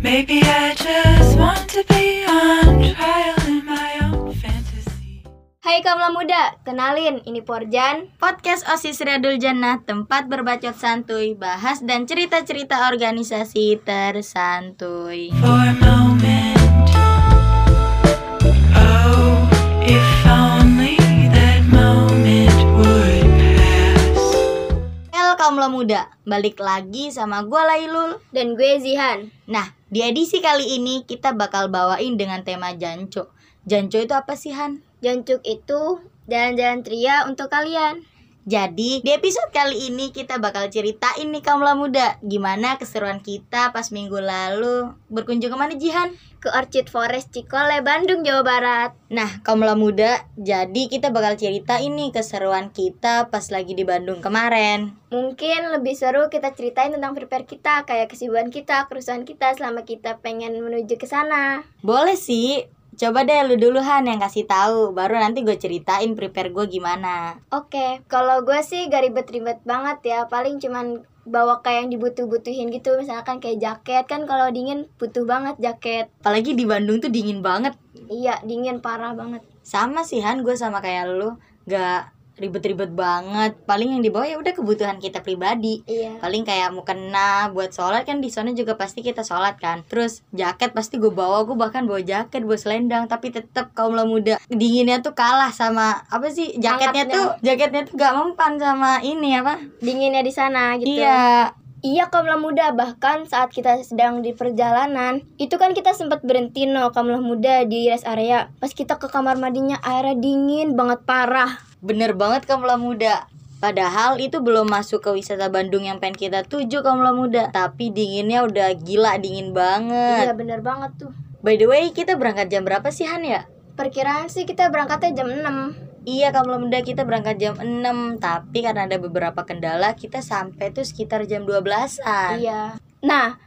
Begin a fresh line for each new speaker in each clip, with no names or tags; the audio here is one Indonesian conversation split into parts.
Maybe I just want to be on trial in my own fantasy.
Hai Kamla Muda, kenalin ini Porjan.
Podcast OSIS Redul Jannah, tempat berbacot santuy, bahas dan cerita-cerita organisasi tersantuy.
For a moment. Oh, if only that moment would pass.
El Kamla Muda, balik lagi sama gue Lailul.
Dan gue Zihan.
Nah, di edisi kali ini kita bakal bawain dengan tema Janco. Janco itu apa sih Han?
Jancuk itu jalan-jalan tria untuk kalian.
Jadi, di episode kali ini kita bakal ceritain nih Kamla Muda, gimana keseruan kita pas minggu lalu berkunjung kemana Jihan?
Ke Orchid Forest Cikole, Bandung, Jawa Barat.
Nah, Kamla Muda, jadi kita bakal cerita ini keseruan kita pas lagi di Bandung kemarin.
Mungkin lebih seru kita ceritain tentang prepare kita, kayak kesibukan kita, kerusuhan kita selama kita pengen menuju ke sana.
Boleh sih, coba deh lu dulu Han yang kasih tahu, baru nanti gue ceritain prepare gue gimana.
Oke, kalau gue sih gak ribet-ribet banget ya, paling cuman bawa kayak yang dibutuh-butuhin gitu, misalkan kayak jaket kan kalau dingin butuh banget jaket.
Apalagi di Bandung tuh dingin banget.
Iya, dingin parah banget.
Sama sih Han, gue sama kayak lu, gak ribet-ribet banget. Paling yang dibawa ya udah kebutuhan kita pribadi.
Iya.
Paling kayak mukena buat sholat kan di sana juga pasti kita sholat kan. Terus jaket pasti gue bawa, gue bahkan bawa jaket, bawa selendang tapi tetap kaum muda dinginnya tuh kalah sama apa sih jaketnya
Hangatnya.
tuh jaketnya tuh gak mempan sama ini apa?
Dinginnya di sana gitu.
Iya.
Iya kaumlah muda bahkan saat kita sedang di perjalanan itu kan kita sempat berhenti no kaumlah muda di rest area pas kita ke kamar mandinya airnya dingin banget parah
Bener banget Kamla Muda. Padahal itu belum masuk ke wisata Bandung yang pengen kita tuju Kamla Muda. Tapi dinginnya udah gila,
iya
dingin banget.
bener banget tuh
By the way, kita berangkat jam berapa sih Han ya?
perkiraan sih kita berangkatnya jam 6
Iya Kamla Muda kita berangkat jam 6 Tapi karena ada beberapa kendala kita sampai tuh sekitar jam 12an
iya nah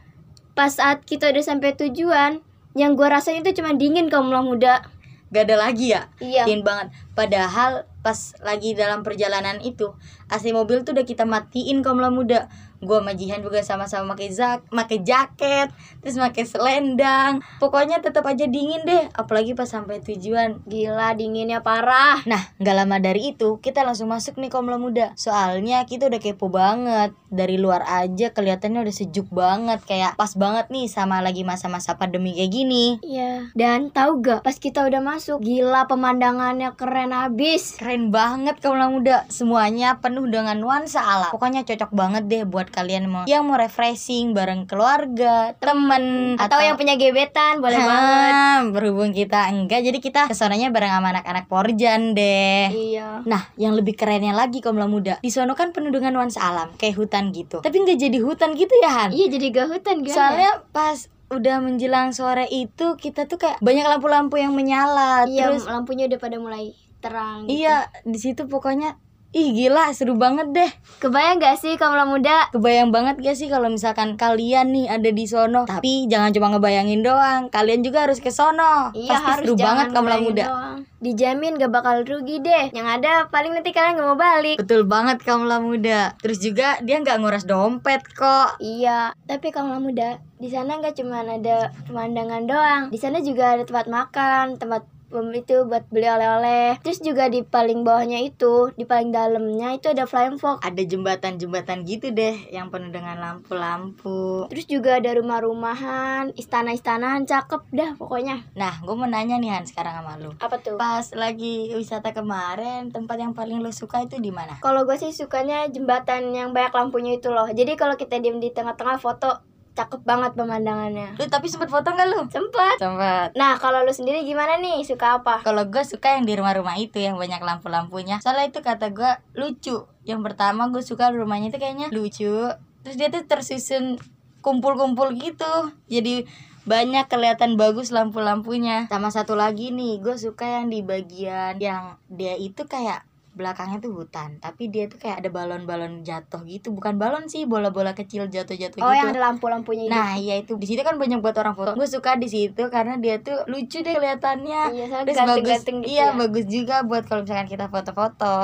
pas saat kita udah sampai tujuan yang gua rasain itu cuma dingin kaumlah muda
Gak ada lagi ya?
iya
Dingin banget Padahal pas lagi dalam perjalanan itu AC mobil tuh udah kita matiin Kamla Muda Gua sama Jihan juga sama-sama pakai zak, pakai jaket, terus pakai selendang. Pokoknya tetap aja dingin deh, apalagi pas sampai tujuan.
gila dinginnya parah
Nah, nggak lama dari itu kita langsung masuk nih Komla Muda. Soalnya kita udah kepo banget. Dari luar aja kelihatannya udah sejuk banget, kayak pas banget nih sama lagi masa-masa pandemi kayak gini.
iya dan tahu gak pas kita udah masuk gila pemandangannya keren abis
Keren banget Komla Muda. Semuanya penuh dengan nuansa alam. Pokoknya cocok banget deh buat kalian mau yang mau refreshing bareng keluarga, temen
atau, yang punya gebetan boleh
Ah,
banget
berhubung kita enggak jadi kita kesonanya bareng sama anak-anak Porjan deh.
iya
Nah, yang lebih kerennya lagi Komla Muda, di sono kan penuh dengan nuansa alam, kayak hutan gitu. Tapi nggak jadi hutan gitu ya, Han.
iya jadi gak hutan gimana
Soalnya pas udah menjelang sore itu kita tuh kayak banyak lampu-lampu yang menyala,
iya
terus
lampunya udah pada mulai terang gitu.
iya, di situ pokoknya Ih gila seru banget deh
kebayang gak sih kamla muda
Kebayang banget gak sih kalau misalkan kalian nih ada di sono Tapi jangan cuma ngebayangin doang Kalian juga harus ke sono
Iya
Pasti
harus
seru
jangan
banget Kamla
ngebayangin
Muda
doang. Dijamin gak bakal rugi deh Yang ada paling nanti kalian gak mau balik
Betul banget Kamla Muda Terus juga dia nggak nguras dompet kok
Iya, tapi kamla muda di sana nggak cuma ada pemandangan doang. Di sana juga ada tempat makan, tempat um, itu buat beli oleh-oleh. Terus juga di paling bawahnya itu, di paling dalamnya itu ada flying fox.
ada jembatan-jembatan gitu deh yang penuh dengan lampu-lampu.
Terus juga ada rumah-rumahan, istana-istanahan cakep dah pokoknya.
Nah, gue mau nanya nih Han sekarang sama lu.
Apa tuh?
Pas lagi wisata kemarin, tempat yang paling lu suka itu di mana?
Kalau gue sih sukanya jembatan yang banyak lampunya itu loh. Jadi kalau kita diem di tengah-tengah foto, cakep banget pemandangannya.
Lu tapi sempet foto nggak lu?
Sempet.
Sempet.
Nah, kalau lu sendiri gimana nih? Suka apa?
Kalau gue suka yang di rumah-rumah itu yang banyak lampu-lampunya. Soalnya itu kata gue lucu. Yang pertama gue suka rumahnya itu kayaknya lucu. Terus dia tuh tersusun kumpul-kumpul gitu. Jadi banyak kelihatan bagus lampu-lampunya. Sama satu lagi nih, gue suka yang di bagian yang dia itu kayak belakangnya tuh hutan, tapi dia tuh kayak ada balon-balon jatuh gitu. Bukan balon sih, bola-bola kecil jatuh-jatuh
Oh,
gitu.
yang ada lampu-lampunya itu.
Nah, iya itu. Di situ kan banyak buat orang foto. Gue suka di situ karena dia tuh lucu deh kelihatannya.
Iya, soalnya
Terus bagus.
ganteng-ganteng gitu
iya,
ya.
bagus juga buat kalau misalkan kita foto-foto.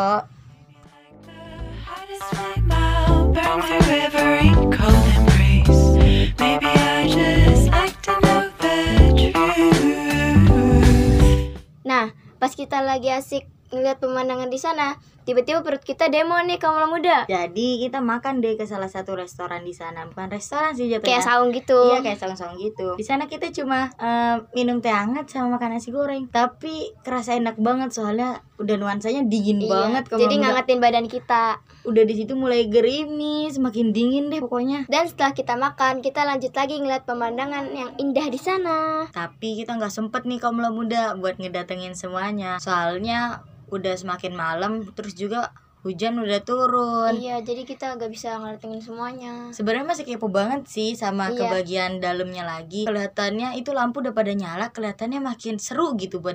Hottest flame I'll burn through every cold embrace. Maybe I just like to
Nah, lagi asik ngeliat pemandangan di sana, tiba-tiba perut kita demo nih kaum muda.
Iya, Jadi kita makan deh ke salah satu restoran di sana. Bukan restoran sih jatuhnya.
Kayak saung gitu.
Iya kayak saung-saung gitu. Di sana kita cuma eh, minum teh hangat sama makan nasi goreng. Tapi kerasa enak banget soalnya udah nuansanya dingin
Iya,
banget. kalau
Jadi
nggak-
ngangetin badan kita.
Udah di situ mulai gerimis, makin dingin deh pokoknya.
Dan setelah kita makan, kita lanjut lagi ngeliat pemandangan yang indah di sana.
Tapi kita nggak sempet nih kaum muda buat ngedatengin semuanya. Soalnya udah semakin malam, terus juga hujan udah turun.
Iya, jadi kita nggak bisa ngertiin semuanya.
Sebenarnya masih kepo banget sih sama
Iya.
kebagian dalamnya lagi. Kelihatannya itu lampu udah pada nyala, kelihatannya makin seru gitu buat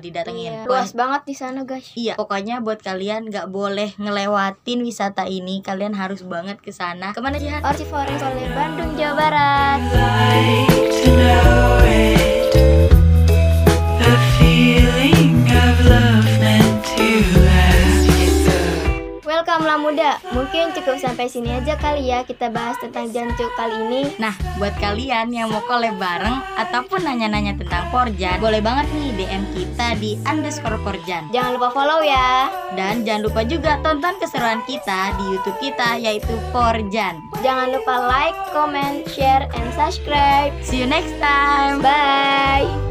Iya.
didatengin. Wah,
Luas banget di sana, guys.
Iya, pokoknya buat kalian nggak boleh ngelewatin wisata ini. Kalian harus banget ke sana. Kemana Jihan?
Orsi Forest oleh Bandung, Jawa Barat.
Like to know it, the feeling of love meant to last.
Welcome lah muda. Mungkin cukup sampai sini aja kali ya kita bahas tentang jancuk kali ini.
Nah, buat kalian yang mau collab bareng ataupun nanya-nanya tentang Porjan, boleh banget nih DM kita di underscore Porjan.
Jangan lupa follow ya.
Dan jangan lupa juga tonton keseruan kita di YouTube kita yaitu Porjan.
Jangan lupa like, comment, share, and subscribe.
See you next time.
Bye.